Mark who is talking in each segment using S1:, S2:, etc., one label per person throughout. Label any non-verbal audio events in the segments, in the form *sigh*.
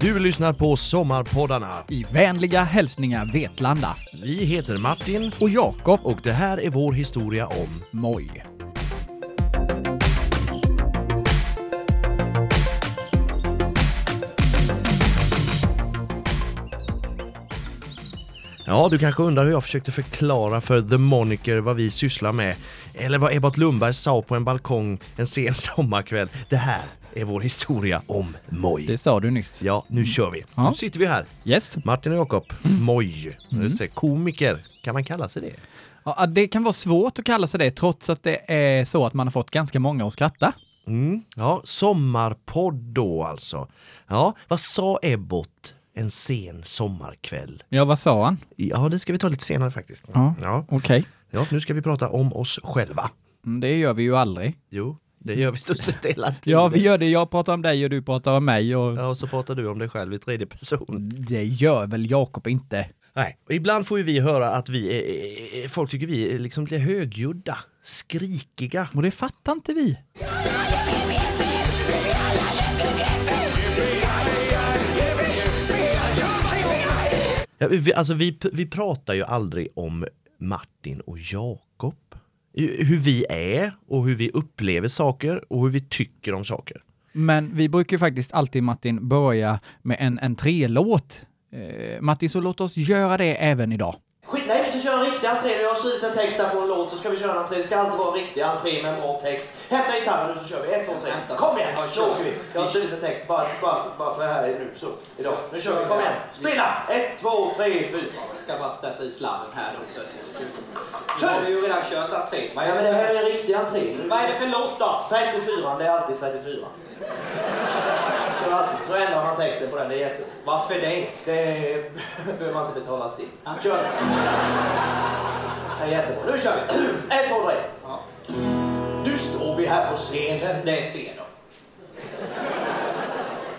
S1: Du lyssnar på Sommarpoddarna.
S2: I vänliga hälsningar Vetlanda
S1: Vi heter Martin
S2: och Jakob
S1: och det här är vår historia om...
S2: Moj.
S1: Ja, du kanske undrar hur jag försökte förklara för The Moniker vad vi sysslar med. Eller vad Ebbot Lundberg sa på en balkong en sen *laughs* sommarkväll. Det här är vår historia om
S2: Det
S1: Moj.
S2: sa du nyss.
S1: Ja, nu kör vi.
S2: Ja.
S1: Nu sitter vi här.
S2: Yes.
S1: Martin och Jakob. Moj. Just det, komiker. Kan man kalla sig det?
S2: Ja, ah, det kan vara svårt att kalla sig det trots att det är så att man har fått ganska många att skratta.
S1: Mm. Ja, sommarpodd då alltså. Ja, vad sa Ebbot en sen sommarkväll?
S2: Ja, vad sa han?
S1: Ja, det ska vi ta lite senare faktiskt.
S2: Ja.
S1: Ja,
S2: Okej.
S1: ja nu ska vi prata om oss själva.
S2: Mm, Det gör vi ju aldrig.
S1: Jo, det gör vi stort sett hela tiden.
S2: Ja, vi gör det. Jag pratar om dig och du pratar om mig och...
S1: Ja, och så pratar du om dig själv i tredje person.
S2: Det gör väl Jakob inte?
S1: Nej, och ibland får ju vi höra att vi är, är- folk tycker vi är liksom lite högljudda, skrikiga.
S2: Och det fattar inte vi.
S1: Ja, vi, alltså vi, vi pratar ju aldrig om Martin och Jakob. Hu- Hur vi är och hur vi upplever saker och hur vi tycker om saker.
S2: Men vi brukar ju faktiskt alltid, Martin, börja med en, en trelåt. Eh, Martin, så låt oss göra det även idag.
S3: Skit, nej, vi ska köra en riktig entré. Jag har skrivit en text här på en låt så ska vi köra en entré. Det ska alltid vara en riktig entré med en bra text. Hämta gitarren nu så kör vi. Ett, två, tre. Kom igen, nu åker vi. Jag har skrivit en text bara, bara, bara för det här nu. Så, idag. Nu kör vi, kom igen. Spela! Ett, två, tre, fyra.
S4: Jag ska bara stöta i sladden här då plötsligt. Nu har vi ju redan kört entré. Vad
S3: Ja, men det här är en riktig entré.
S4: vad är det för låt då?
S3: 34, det är alltid 34. Det är alltid. Så ändrar man texten på den, det är jätte...
S4: Varför det?
S3: Det *laughs* behöver man inte betala STIM. Kör! Det är jättebra. Nu kör vi! *clears throat* Ett, två, tre.
S4: Ja.
S3: Nu står vi här på scenen
S4: Det ser de.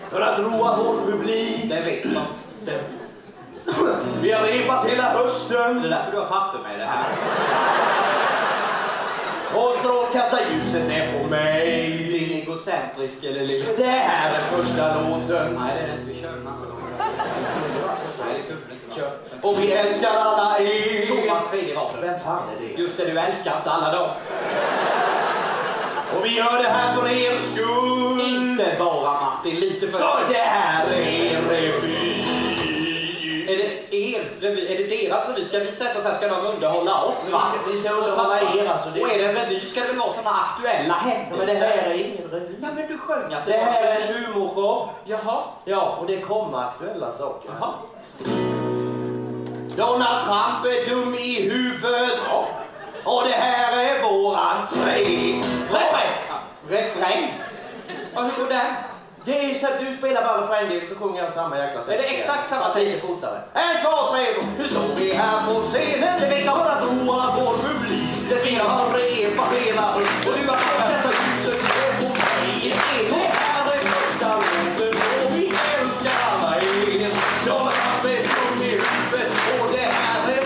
S3: för att roa vår publik.
S4: Det vet de. Det,
S3: Vi har repat hela
S4: det är
S3: hösten
S4: därför du har papper med det här.
S3: och strålkastarljuset är på
S4: Det
S3: mig.
S4: är ingen egocentrisk eller lite.
S3: Det här är första låten
S4: Nej, det är det inte. Vi kör den andra låten. Nej, det kunde det inte vara.
S3: och vi älskar alla er.
S4: Thomas tredje vapen.
S3: Vem fan är det?
S4: Just det, du älskar inte alla dem.
S3: Och vi gör det här för er skull.
S4: Inte bara Martin, lite för...
S3: För det här är er revy.
S4: Är det er revy? Är det deras revy? Ska vi sätta oss här? Ska de underhålla oss? Va?
S3: Vi ska- vi ska underhålla er, alltså, det-
S4: Och är det en revy ska det väl vara såna aktuella
S3: Ja,
S4: händelser?
S3: men det här är ingen revy.
S4: Ja, men du sjöng att det,
S3: Det här
S4: var
S3: är en humorshow.
S4: Jaha.
S3: Ja, och det kommer aktuella saker.
S4: Jaha.
S3: Donald Trump är dum i huvudet. Och det här är våran tre. Refräng!
S4: Ja. Refräng. Och hur går den?
S3: Det är ju så att du spelar bara refrängen så sjunger jag samma jäkla text.
S4: Är det exakt samma
S3: Fast lite
S4: text?
S3: fortare. En, två, tre, gå. Nu står vi här på scenen. Det verkar vara roa vår publik. Vi har repat hela hösten. Och du har fått detta ljuset är på mig. Det här är första låten och vi älskar alla er. Donald Trump är dum i huvudet och det här är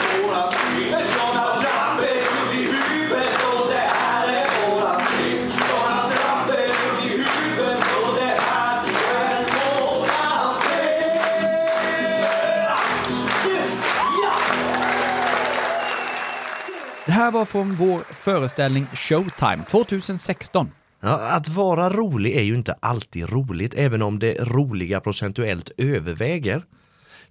S3: våran fel. Donald Trump är dum i huvudet och det här är våran fel. Donald Trump är dum i huvudet och det här är våran fel. Ja!
S2: Det här var från vår föreställning Showtime 2016.
S1: Ja, att vara rolig är ju inte alltid roligt, även om det roliga procentuellt överväger.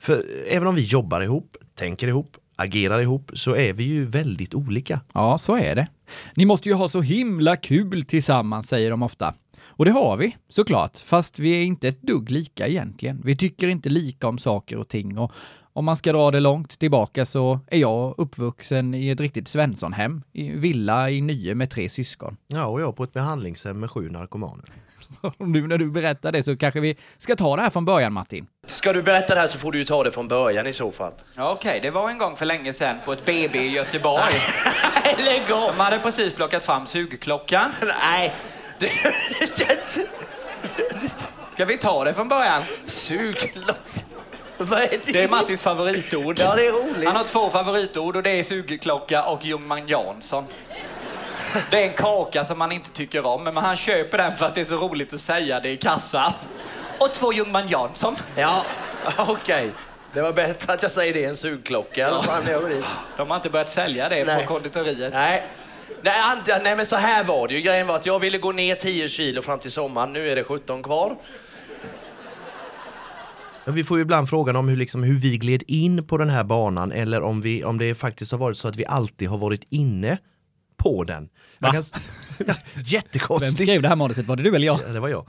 S1: För även om vi jobbar ihop, tänker ihop, agerar ihop, så är vi ju väldigt olika.
S2: Ja, så är det. Ni måste ju ha så himla kul tillsammans, säger de ofta. Och det har vi, såklart. Fast vi är inte ett dugg lika egentligen. Vi tycker inte lika om saker och ting och om man ska dra det långt tillbaka så är jag uppvuxen i ett riktigt Svenssonhem, i en villa i Nye med tre syskon.
S1: Ja, och jag på ett behandlingshem med sju narkomaner.
S2: *laughs* Nu när du berättar det så kanske vi ska ta det här från början, Martin.
S1: Ska du berätta det här så får du ju ta det från början i så fall.
S4: Ja, okej, det var en gång för länge sedan på ett BB
S1: *laughs*
S4: i Göteborg. Lägg av! De hade precis plockat fram sugklockan.
S1: *laughs* Nej!
S4: Ska vi ta det från början?
S1: Sugklocka. Vad är
S4: Det är Mattis favoritord.
S1: Ja, det är roligt.
S4: Han har två favoritord och det är sugklocka och Ljungman Jansson. *laughs* Det är en kaka som man inte tycker om, men han köper den för att det är så roligt att säga det i kassan. och två Ljungman Jansson.
S5: Ja, *laughs* okej. Det var bättre att jag säger det än sugklocka. eller fan, när jag går dit.
S4: De har inte börjat sälja det
S5: Nej.
S4: på konditoriet.
S5: Nej. Nej, an- nej, men så här var det ju. Grejen var att jag ville gå ner 10 kilo fram till sommaren. Nu är det 17 kvar.
S1: Men vi får ju ibland frågan om hur, liksom, hur vi gled in på den här banan eller om, vi, om det faktiskt har varit så att vi alltid har varit inne på den. Jag *laughs* kan...
S2: Vem
S1: Jättekonstigt.
S2: skrev det här manuset? Var det du eller jag?
S1: Ja, det var jag.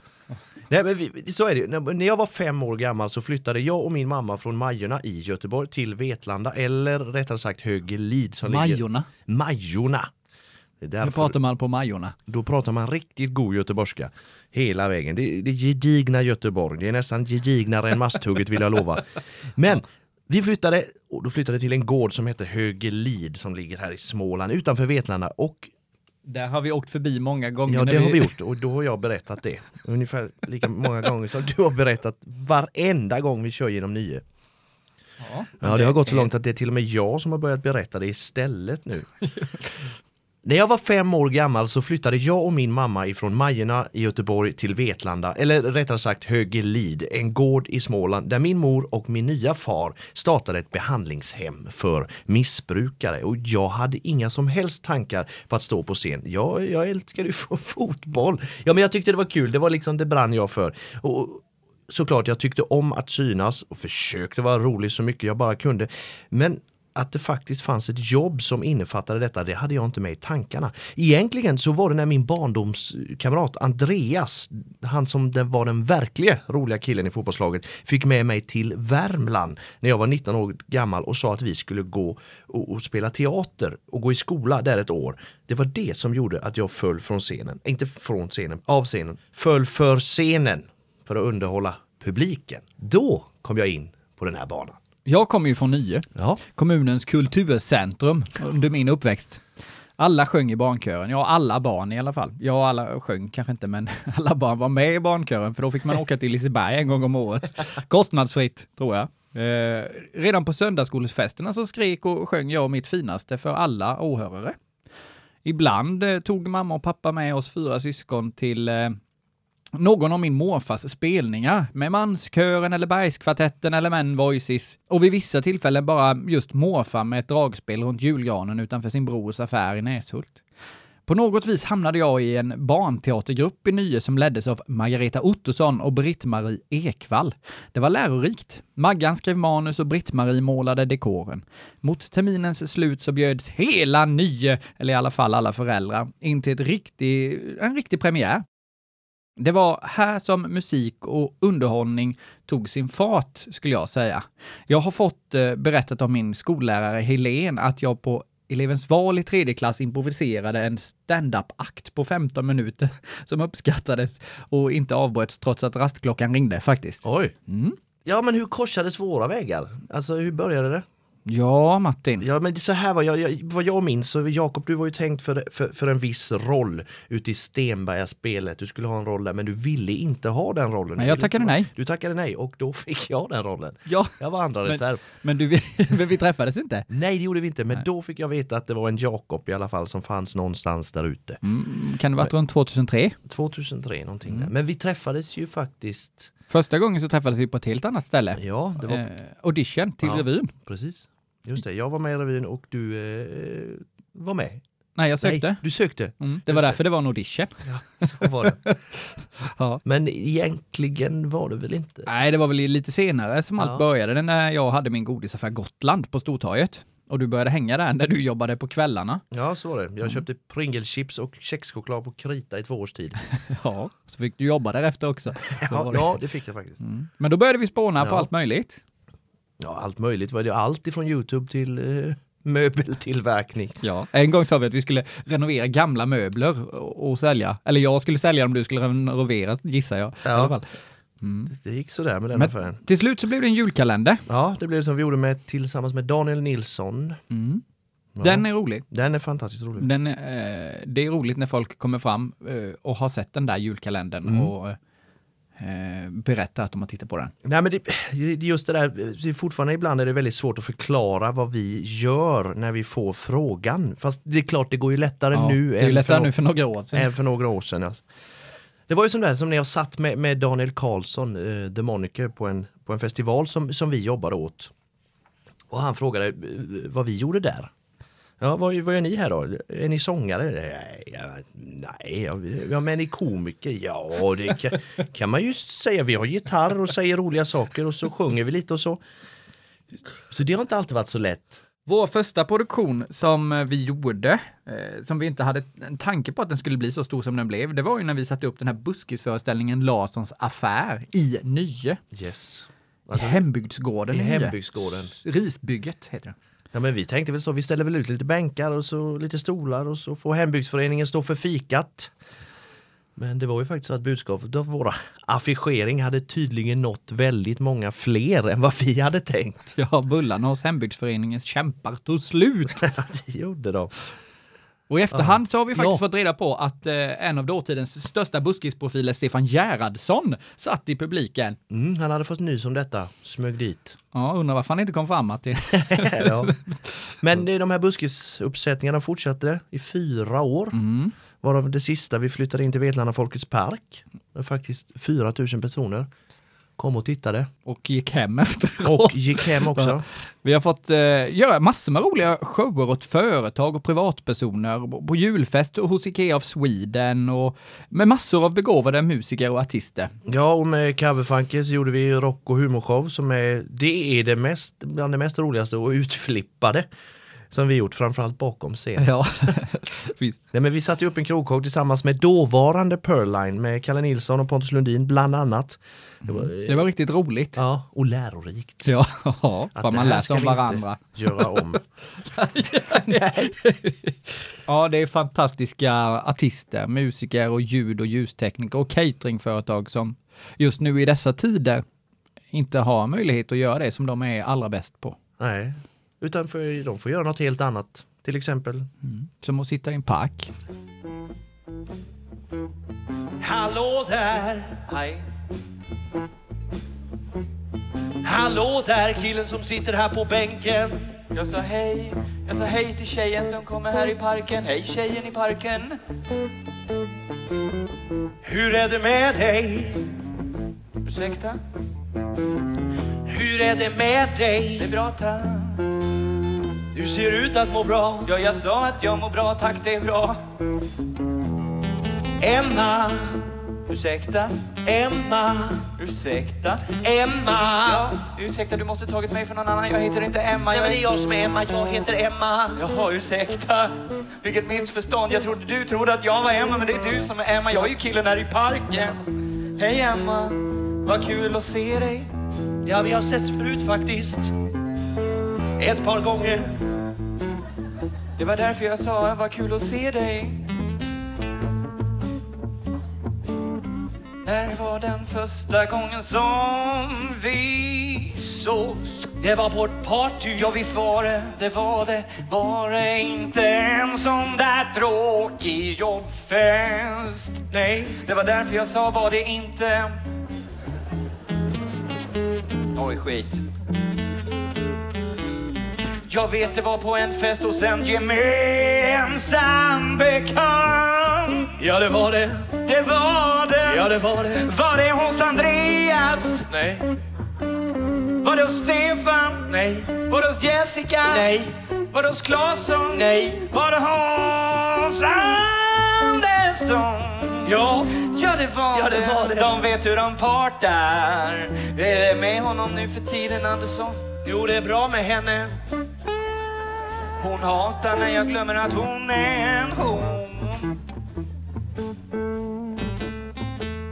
S1: Nej, men vi, så är det. ju. När- När jag var fem år gammal så flyttade jag och min mamma från Majorna i Göteborg till Vetlanda, eller rättare sagt Högelid. Som Ligger...
S2: Majorna.
S1: Majorna. Det är
S2: Nu
S1: därför,
S2: pratar man på Majorna.
S1: Då pratar man riktigt god göteborgska hela vägen. Det, det är gedigna Göteborg. Det är nästan gedignare än Masthugget vill jag lova. Men vi flyttade, och då flyttade till en gård som heter Högelid som ligger här i Småland utanför Vetlanda och
S2: Där har vi åkt förbi många gånger.
S1: Ja,
S2: när
S1: det har vi gjort och då har jag berättat det. Ungefär lika många gånger som du har berättat varenda gång vi kör genom nio.
S2: Ja.
S1: Ja, det har gått så långt att det är till och med jag som har börjat berätta det istället nu. När jag var fem år gammal så flyttade jag och min mamma ifrån Majorna i Göteborg till Vetlanda, eller rättare sagt Högelid, en gård i Småland där min mor och min nya far startade ett behandlingshem för missbrukare och jag hade inga som helst tankar på att stå på scen. Jag, jag älskade ju *laughs* fo- fotboll. Ja, men jag tyckte det var kul. Det var liksom, det brann jag för. Och, såklart, jag tyckte om att synas och försökte vara rolig så mycket jag bara kunde. Men att det faktiskt fanns ett jobb som innefattade detta, det hade jag inte med i tankarna. Egentligen så var det när min barndomskamrat Andreas, han som den var den verkliga roliga killen i fotbollslaget, fick med mig till Värmland när jag var 19 år gammal och sa att vi skulle gå och, och spela teater och gå i skola där ett år. Det var det som gjorde att jag föll från scenen, inte från scenen, av scenen, föll för scenen för att underhålla publiken. Då kom jag in på den här banan.
S2: Jag kommer ju från Nye.
S1: Ja.
S2: kommunens kulturcentrum under min uppväxt. Alla sjöng i barnkören, ja alla barn i alla fall. Jag och alla sjöng kanske inte, men *laughs* alla barn var med i barnkören för då fick man åka till Liseberg en gång om året. Kostnadsfritt, tror jag. Eh, redan på söndagsskolefesterna så skrek och sjöng jag mitt finaste för alla åhörare. Ibland eh, tog mamma och pappa med oss fyra syskon till eh, någon av min morfars spelningar med manskören eller bergskvartetten eller men voices och vid vissa tillfällen bara just morfar med ett dragspel runt julgranen utanför sin brors affär i Näshult. På något vis hamnade jag i en barnteatergrupp i Nye som leddes av Margareta Ottosson och Britt-Marie Ekvall. Det var lärorikt. Maggan skrev manus och Britt-Marie målade dekoren. Mot terminens slut så bjöds hela Nye, eller i alla fall alla föräldrar, in till ett riktig, en riktig premiär. Det var här som musik och underhållning tog sin fart, skulle jag säga. Jag har fått eh, berättat av min skollärare Helen att jag på elevens val i tredje klass improviserade en stand-up-akt på 15 minuter *laughs* som uppskattades och inte avbröts trots att rastklockan ringde faktiskt.
S1: Oj.
S2: Mm.
S1: Ja, men hur korsades våra vägar? Alltså, hur började det?
S2: Ja, Martin.
S1: Ja, men det- så här var jag, jag, vad jag minns, så Jakob, du var ju tänkt för, för, för en viss roll ute i Stenberga-spelet. Du skulle ha en roll där, men du ville inte ha den rollen.
S2: Nej, jag
S1: Du-
S2: tackade nej.
S1: Du tackade nej och då fick jag den rollen.
S2: Ja,
S1: Jag var andra reserv.
S2: men, men du, *laughs* men vi träffades inte.
S1: Nej, det gjorde vi inte, men då fick jag veta att det var en Jakob i alla fall som fanns någonstans där ute.
S2: Mm. Kan det varit runt 2003?
S1: 2003 någonting
S2: Mm.
S1: där. Men vi träffades ju faktiskt.
S2: Första gången så träffades vi på ett helt annat ställe.
S1: Ja, det var
S2: eh, audition till
S1: Ja.
S2: revyn.
S1: Precis. Just det, jag var med i revyn och du eh, var med.
S2: Nej, jag sökte.
S1: Nej, du sökte.
S2: Mm, det var därför det var en audition.
S1: Så var det.
S2: *laughs* Ja.
S1: Men egentligen var det väl inte?
S2: Nej, det var väl lite senare som allt började. Det är när jag hade min godisaffär Gotland på Stortorget. Och du började hänga där när du jobbade på kvällarna.
S1: Ja, så var det. Jag
S2: Mm.
S1: köpte Pringlechips och kexchoklad på krita i två års tid.
S2: *laughs* Ja. Så fick du jobba därefter också. Då
S1: *laughs* Ja,
S2: var det- Mm.
S1: ja det fick jag faktiskt.
S2: Men då började vi spåna på
S1: Ja.
S2: allt möjligt.
S1: Ja, allt möjligt var det. Allt ifrån Youtube till eh, möbeltillverkning.
S2: Ja. En gång sa vi att vi skulle renovera gamla möbler och, och sälja. Eller jag skulle sälja om du skulle renovera, gissar jag. I
S1: Ja.
S2: alla fall.
S1: Det gick sådär med den
S2: Mm. Men-
S1: affären.
S2: Till slut så blev det en julkalender.
S1: Ja, det blev som vi gjorde med, tillsammans med Daniel Nilsson. Ja.
S2: Den är rolig.
S1: Den är fantastiskt rolig.
S2: Den, eh, det är roligt när folk kommer fram eh, och har sett den där julkalendern och eh, berättar att de har tittat på den.
S1: Nej men det, det- just det där, det är fortfarande ibland är det väldigt svårt att förklara vad vi gör när vi får frågan. Fast det är klart, det går ju lättare
S2: Ja,
S1: nu
S2: det är ju
S1: än,
S2: lättare
S1: Äh, för no-
S2: nu för några år sedan.
S1: än för några år sedan. Alltså. Det var ju som där som när jag satt med, med Daniel Karlsson, eh, The Moniker, på en, på en festival som, som vi jobbade åt. Och han frågade eh, vad vi gjorde där. Ja, vad, vad gör ni här då? Är ni sångare? Nej, ja, nej ja, vi- ja, men är ni komiker? Ja, det kan, kan man ju säga. Vi har gitarr och säger roliga saker och så sjunger vi lite och så. Så det har inte alltid varit så lätt.
S2: Vår första produktion som eh, vi gjorde, eh, som vi inte hade en tanke på att den skulle bli så stor som den blev, det var ju när vi satte upp den här buskisföreställningen Larssons affär i Nye.
S1: Yes.
S2: I hembygdsgården
S1: Alltså- I
S2: Nye.
S1: hembygdsgården.
S2: S- Risbygget heter det.
S1: Ja men vi tänkte väl så, vi ställer väl ut lite bänkar och så lite stolar och så får hembygdsföreningen stå för fikat. Men det var ju faktiskt så att budskapet av våra affischering hade tydligen nått väldigt många fler än vad vi hade tänkt. *laughs*
S2: Ja, bullarna hos hembygdsföreningens kämpar tog slut.
S1: Att vi gjorde då.
S2: Och i efterhand så har vi faktiskt
S1: Ja.
S2: fått reda på att eh, en av dåtidens största buskisprofiler, Stefan Gerhardsson, satt i publiken.
S1: Mm, han hade fått nys om detta, smög dit.
S2: Ja, undrar varför han inte kom
S1: *laughs*
S2: fram att det...
S1: ja. Men det- de här buskisuppsättningarna fortsatte i fyra år. Varav det sista vi flyttade in till Vetlanda Folkets Park. Där faktiskt 4000 personer kom och tittade.
S2: och gick hem efteråt.
S1: Och gick hem
S2: *laughs*
S1: också.
S2: Vi har fått eh, göra massor med roliga shower åt företag och privatpersoner, och på julfest och hos Ikea of Sweden och med massor av begåvade musiker och artister.
S1: Ja, och med Coverfunky så gjorde vi ju rock och humorshow som är, det är det mest, bland det mest roligaste och utflippade som vi gjort, framförallt bakom scen.
S2: Ja,
S1: Nej, men vi satte ju upp en krogshow tillsammans med dåvarande Pearline med Kalle Nilsson och Pontus Lundin bland annat. Det var,
S2: *laughs* det var riktigt roligt. Ja,
S1: Ja, och lärorikt.
S2: ja
S1: Att
S2: för
S1: det
S2: man
S1: här
S2: lär
S1: ska
S2: sig om
S1: vi inte
S2: varandra.
S1: *laughs* Göra om.
S2: Ja, det är fantastiska artister, musiker och ljud och ljustekniker och cateringföretag som just nu i dessa tider inte har möjlighet att göra det som de är allra bäst på.
S1: Nej, utan för, de får göra något helt annat. Till exempel.
S2: Som att sitta i en park.
S5: Hallå där!
S4: Hej.
S5: Hallå där killen som sitter här på bänken.
S4: Jag sa hej. Jag sa hej till tjejen som kommer här i parken. Hej tjejen i parken.
S5: Hur är det med dig?
S4: Ursäkta?
S5: Hur är det med
S4: Det
S5: dig?
S4: är bra tack.
S5: Du ser ut att må bra.
S4: Ja, jag sa att jag mår bra tack, det är bra.
S5: Emma,
S4: Ursäkta?
S5: Emma,
S4: Ursäkta?
S5: Emma.
S4: Ja, ursäkta, du måste tagit mig för någon annan. Jag heter inte Emma.
S5: Nej
S4: Jag
S5: men det är jag som är Emma, jag heter Emma.
S4: Jaha, ursäkta. Vilket missförstånd. Jag trodde du trodde att jag var Emma, men det är du som är Emma. Jag är ju killen här i parken. Hej Emma. Vad kul att se dig.
S5: Ja, vi har setts förut faktiskt. Ett par gånger.
S4: Det var därför jag sa vad kul att se dig. När var den första gången som vi sågs?
S5: Det var på ett party.
S4: Ja visst var det, det var det, var det inte en sån där tråkig jobbfest? Nej, det var därför jag sa var det inte. Oj, skit. Jag vet det var på en fest hos en gemensam bekant.
S5: Ja, det var det.
S4: Det var det.
S5: Ja, det var det.
S4: Var det hos Andreas?
S5: Nej,
S4: Var det hos Stefan?
S5: nej,
S4: Var det hos Jessica?
S5: nej,
S4: Var det hos Claesson?
S5: nej.
S4: Var det hos Andersson?
S5: Ja,
S4: Ja det var,
S5: Ja, det var det.
S4: De vet hur de partar. Är det med honom nu för tiden Andersson?
S5: jo det är bra med henne.
S4: Hon hatar när jag glömmer att hon är en hon.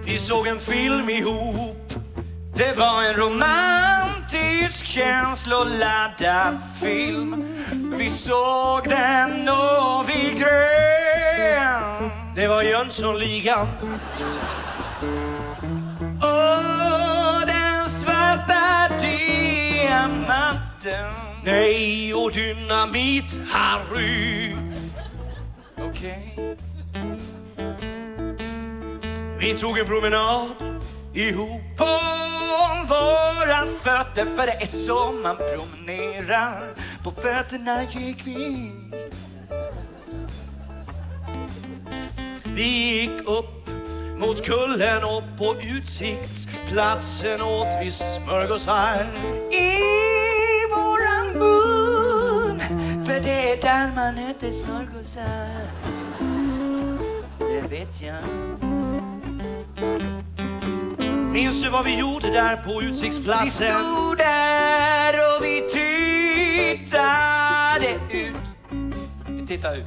S5: Vi såg en film ihop.
S4: Det var en romantisk känsloladdad film. Vi såg den och vi grön.
S5: Det var Jönssonligan.
S4: Åh, den svarta diamanten.
S5: Nej, och Dynamit-Harry.
S4: Okej.
S5: Vi tog en promenad ihop.
S4: På våra fötter, för det är så man promenerar. På fötterna gick vi.
S5: Vi gick upp Mot kullen och på utsiktsplatsen åt vi smörgåsar.
S4: i våran mun. För det är där man äter smörgåsar. Det vet jag.
S5: Minns du vad vi gjorde där på
S4: Vi
S5: utsiktsplatsen?
S4: stod där och vi tittade ut. Vi tittade ut.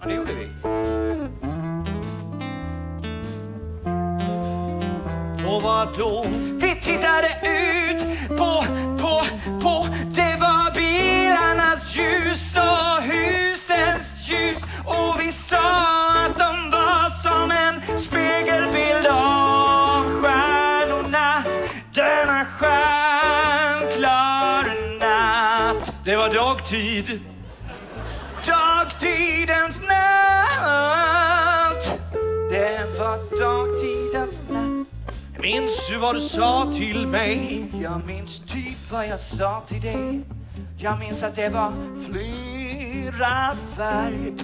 S4: Ja, det gjorde vi.
S5: Och vad då?
S4: Vi tittade ut på, på, på Det var bilarnas ljus och husens ljus Och vi sa att de var som en spegelbild av stjärnorna Denna stjärnklara natt
S5: Det var dagtid.
S4: Dagtidens natt Det var dagtidens natt
S5: Minns du vad du sa till mig?
S4: Jag minns typ vad jag sa till dig Jag minns att det var flera verb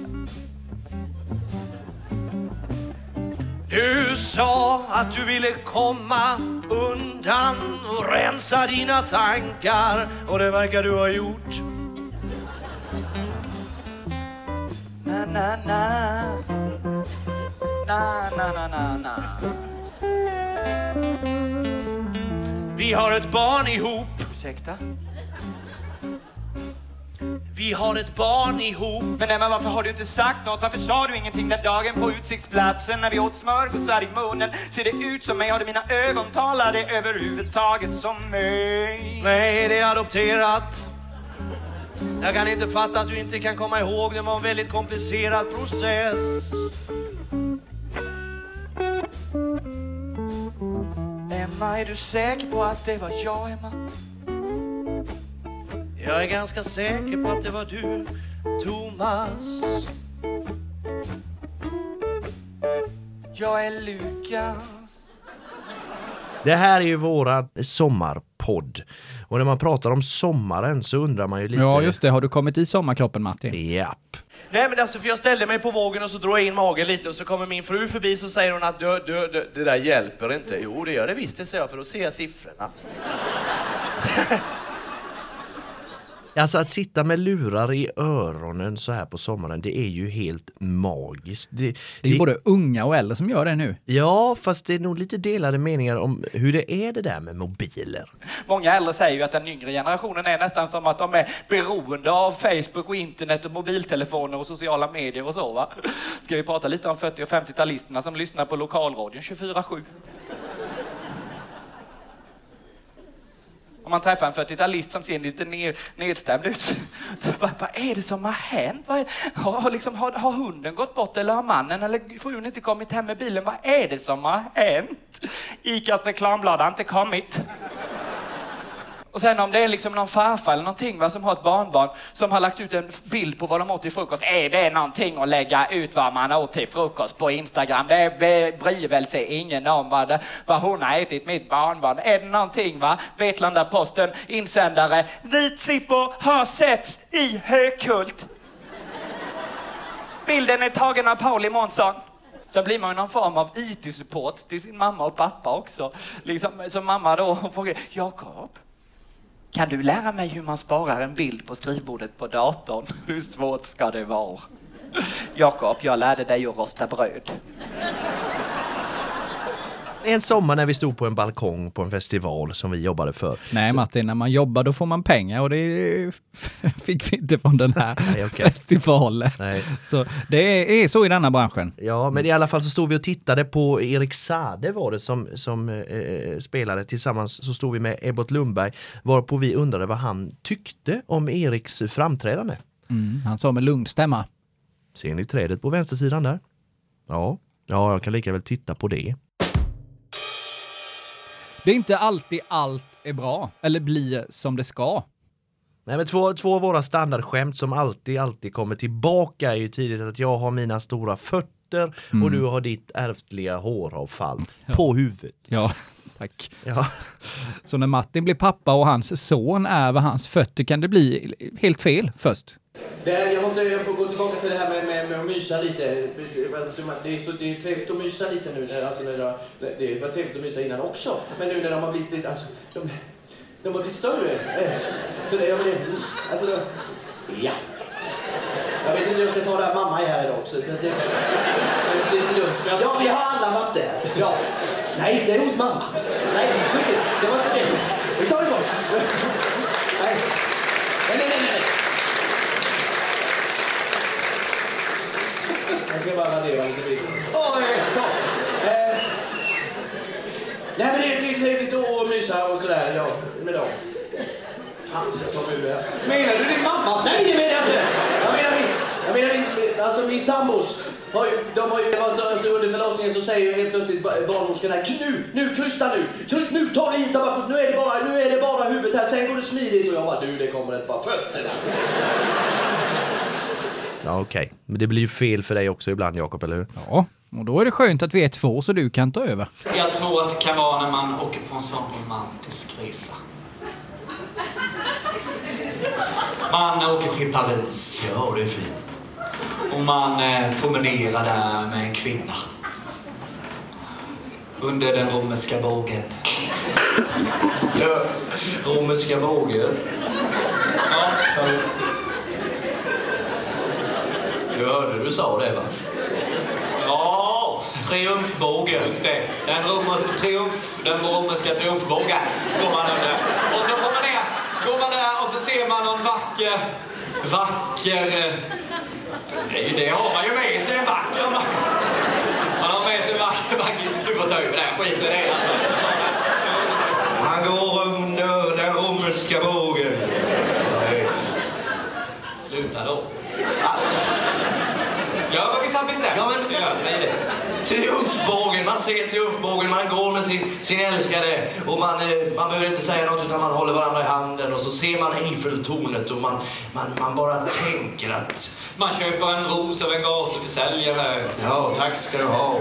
S5: Du sa att du ville komma undan och rensa dina tankar och det verkar du ha gjort.
S4: Na, na, na Na, na, na, na, na
S5: Vi har ett barn ihop.
S4: Ursäkta?
S5: Vi har ett barn ihop.
S4: Men Emma, varför har du inte sagt något? Varför sa du ingenting den dagen på utsiktsplatsen när vi åt smörgåsar i munnen? Ser det ut som mig? Har du mina ögon? Talar det överhuvudtaget som mig?
S5: Nej, det är adopterat. Jag kan inte fatta att du inte kan komma ihåg. Det var en väldigt komplicerad process.
S4: Emma, är du säker på att det var jag, Emma?
S5: Jag är ganska säker på att det var du, Thomas.
S4: Jag är Lukas.
S1: Det här är ju våran sommarpodd. Och när man pratar om sommaren så undrar man ju lite...
S2: Ja, just det. Har du kommit i sommarkroppen, Martin?
S1: Japp.
S5: Nej, men alltså för jag ställde mig på vågen och så drog jag in magen lite och så kommer min fru förbi så säger hon att du, du, du, det där hjälper inte. Jo, det gör det visst, det säger jag för då ser jag siffrorna.
S1: *laughs* Alltså att sitta med lurar i öronen så här på sommaren, det är ju helt magiskt. Det,
S2: Det är ju både unga och äldre som gör det nu.
S1: Ja, fast det är nog lite delade meningar om hur det är det där med mobiler.
S4: Många äldre säger ju att den yngre generationen är nästan som att de är beroende av Facebook och internet och mobiltelefoner och sociala medier och så va. Ska vi prata lite om 40 och 50-talisterna som lyssnar på lokalradion 24-7? Om man träffar en 40-talist som ser lite ner, nedstämd ut. Så bara, vad är det som har hänt? Vad är, har, har, liksom, har, har hunden gått bort eller har mannen eller frun inte kommit hem med bilen? Vad är det som har hänt? Icas reklamblad har inte kommit. Och sen om det är liksom någon farfar eller någonting va, som har ett barnbarn som har lagt ut en bild på vad de åt till frukost. Är det någonting att lägga ut vad man åt till frukost på Instagram? Det be- bryr väl sig ingen om vad, det, vad hon har ätit, mitt barnbarn. Är det någonting va? Vetlanda-Posten, insändare. Vitsippor har setts i Hökult. Bilden är tagen av Pauli Månsson. Då blir man ju någon form av IT-support till sin mamma och pappa också. Liksom, som mamma då frågar, Jakob, kan du lära mig hur man sparar en bild på skrivbordet på datorn? *laughs* Hur svårt ska det vara? Jakob, jag lärde dig att rosta bröd.
S1: En sommar när vi stod på en balkong på en festival som vi jobbade för.
S2: Nej, Martin, när man jobbar då får man pengar och det *laughs* fick vi inte från den här
S1: Nej, okej.
S2: festivalen.
S1: Nej.
S2: Så det är så i denna branschen.
S1: Ja, men i alla fall så stod vi och tittade på Erik Sade var det som, som eh, spelade tillsammans. Så stod vi med Ebbot Lundberg varpå vi undrade vad han tyckte om Eriks framträdande.
S2: Mm, han sa med lungstämma.
S1: Ser ni trädet på vänstersidan där? Ja, ja, jag kan lika väl titta på det.
S2: Det är inte alltid allt är bra eller blir som det ska.
S1: Nej, men två, två av våra standardskämt som alltid, alltid kommer tillbaka är ju tidigt att jag har mina stora fötter och du har ditt ärftliga håravfall på huvudet.
S2: Ja, *laughs* Tack.
S1: Ja.
S2: Så när Martin blir pappa och hans son är vid hans fötter kan det bli helt fel först.
S3: Det, jag, måste, jag får gå tillbaka till det här med, med, med att mysa lite. Alltså, man- Det är, så, det är trevligt att mysa lite nu. När, alltså, när det, det var trevligt att mysa innan också. Men nu när de har blivit, alltså, de, de har blivit större. Eh, Så det, jag vill, alltså, de, ja. Jag vet inte hur jag ska ta det här. Mamma är här idag också. Så att det, det är lite dumt. Ja, vi har alla varit där. Ja. Nej, det är hos mamma. Nej, skit i det. Det var inte det. Vi tar det bort. Nej, nej, nej, nej. nej. Jag ska bara radera lite bilder. Åh, eh, så. Eh, Nej men det är ju trevligt att mysa och sådär ja, med dem. Fan ska jag ta mig ur det här. Menar du din mamma? Nej det menar jag inte! Jag menar min, jag menar min, alltså min sambos. Har ju, de har ju, alltså, alltså under förlossningen så säger ju helt plötsligt ba- barnmorskan här nu, nu, krysta nu, kryst nu, ta det inte bakåt, nu är det bara, nu är det bara huvudet här, sen går det smidigt och jag bara du det kommer ett par fötter där.
S1: Ja, okej. Men det blir ju fel för dig också ibland, Jakob, eller hur?
S2: Ja, och då är det skönt att vi är två så du kan ta över.
S6: Jag tror att det kan vara när man åker på en sån romantisk resa. Man åker till Paris, ja det är fint. Och man eh, promenerar där med en kvinna. Under den romerska bågen. Ja, romerska bågen. Ja, ja. Du hörde du sa det va? Ja, triumfbåge, just det. Den, romers, triumf, den romerska triumfbågen går man under. Och så går man ner, går man där och så ser man någon vacker, vacker... eh, Nej, det har man ju med sig, en vacker man. Man har med sig en vacker, vacker... Du får ta över det här, skit i det. Han går under den romerska bågen. Sluta då. Gör vad vi samt bestämt. Ja, men... ja, säg det.
S7: Triumfbågen, man ser triumfbågen, man går med sin, sin älskade och man, eh, man behöver inte säga något utan man håller varandra i handen och så ser man Eiffeltornet och man, man, man bara tänker att
S6: Man köper en ros av en gatuförsäljare.
S7: ja, tack ska du ha.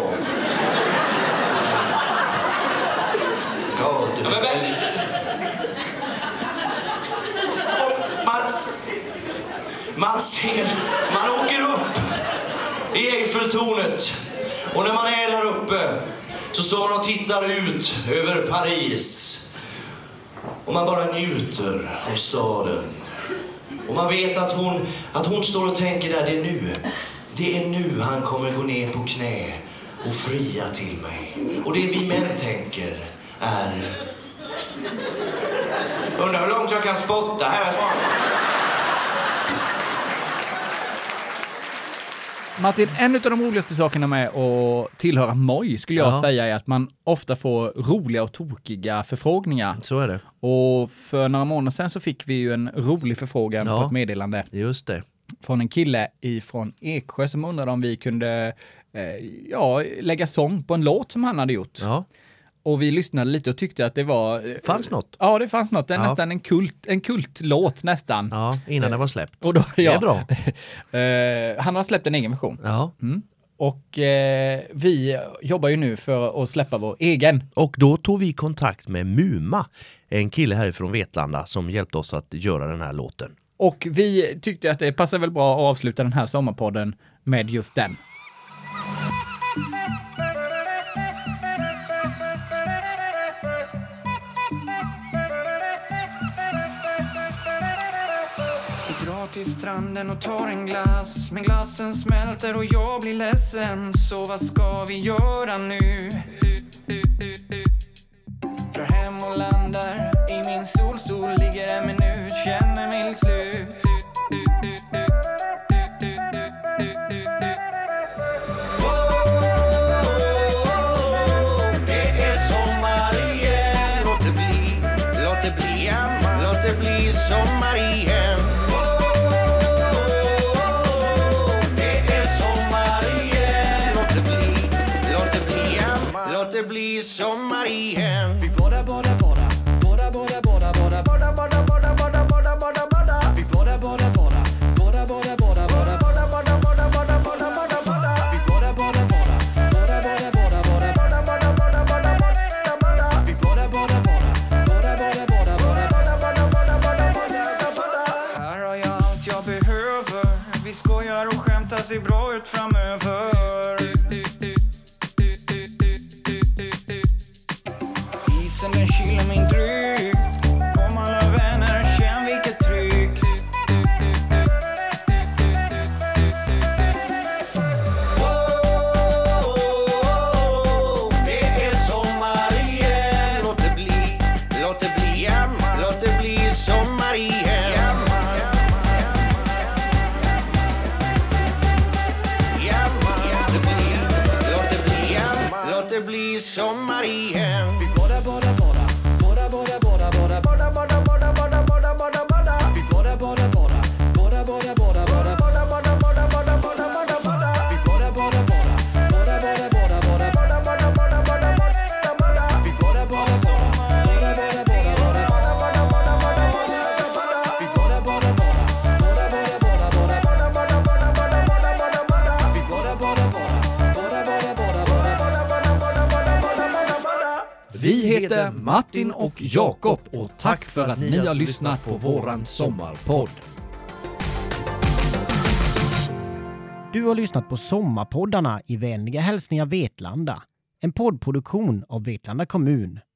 S7: Ja, du
S6: Ja,
S7: får
S6: men
S7: säga.
S6: vem-
S7: Och man, s- man ser, man åker upp i Eiffeltornet och när man är där uppe så står man och tittar ut över Paris och man bara njuter av staden. Och man vet att hon, att hon står och tänker där, det är nu. Det är nu han kommer gå ner på knä och fria till mig. Och det vi män tänker är... Undrar hur långt jag kan spotta härifrån.
S2: Martin, en av de roligaste sakerna med att tillhöra MOJ skulle jag
S1: Ja.
S2: säga är att man ofta får roliga och tokiga förfrågningar.
S1: Så är det.
S2: Och för några månader sedan så fick vi ju en rolig förfrågan
S1: Ja.
S2: på ett meddelande
S1: Just det.
S2: från en kille ifrån Eksjö som undrade om vi kunde eh, ja, lägga sång på en låt som han hade gjort.
S1: Ja.
S2: Och vi lyssnade lite och tyckte att det var... eh,
S1: Fanns något?
S2: Ja, det fanns något. Det är
S1: Ja.
S2: nästan en, kult, en kultlåt nästan.
S1: Ja, innan den var släppt.
S2: Och då, ja.
S1: Det är bra.
S2: *laughs*
S1: Mm.
S2: Eh, han har släppt en egen version.
S1: Ja.
S2: Och eh, vi jobbar ju nu för att släppa vår egen.
S1: Och då tog vi kontakt med Muma, en kille härifrån Vetlanda som hjälpte oss att göra den här låten.
S2: Och vi tyckte att det passar väl bra att avsluta den här sommarpodden med just den.
S4: Vi drar till stranden och tar en glass Men glassen smälter och jag blir ledsen Så vad ska vi göra nu? Drar hem och landar I min solstol ligger en minut Känner mig slut
S8: Det är sommar igen Låt det bli, låt det bli Emma Låt det bli sommar igen Oh, oh, oh, Det är sommar igen Låt det bli, låt det bli Emma Låt det bli sommar igen Vi båda, båda, båda Båda, båda, båda, båda Båda, båda, båda, båda, båda, båda, båda Vi båda, båda, båda Båda, båda, båda, båda Båda, båda, båda, båda, båda, båda, båda Vi båda, båda, båda Båda, båda, båda, båda Båda, båda, båda, båda, båda, båda Vi båda,
S9: bra ut framöver Isen den kyler min dryck Om alla vänner, känn vilket tryck
S10: Det är sommar igen. Låt det bli, låt det bli, låt det bli sommar igen. Låt det bli, låt det bli, låt det bli sommar igen. Vi båda, båda, båda, båda, båda, båda, båda, båda, båda, båda, båda, båda, båda, båda. Vi båda, båda, båda, båda, båda, båda, båda, båda, båda, båda, båda, båda, båda, båda. Vi båda, båda, båda, båda, båda, båda, båda, båda, båda, båda, båda, båda, båda. Vi båda, båda, båda, båda, båda, båda, båda, båda, båda, båda, båda, båda, båda. Vi båda, båda, båda, båda, båda, båda, båda, båda, båda, båda, båda, båda, båda, båda. Vi båda, båda, båda, båda, båda, båda, båda, båda, båda, båda, båda, båda, båda, båda.
S2: Vi heter Martin och Jakob och tack för att ni har lyssnat på våran sommarpodd.
S11: Du har lyssnat på Sommarpoddarna i vänliga hälsningar Vetlanda. En poddproduktion av Vetlanda kommun.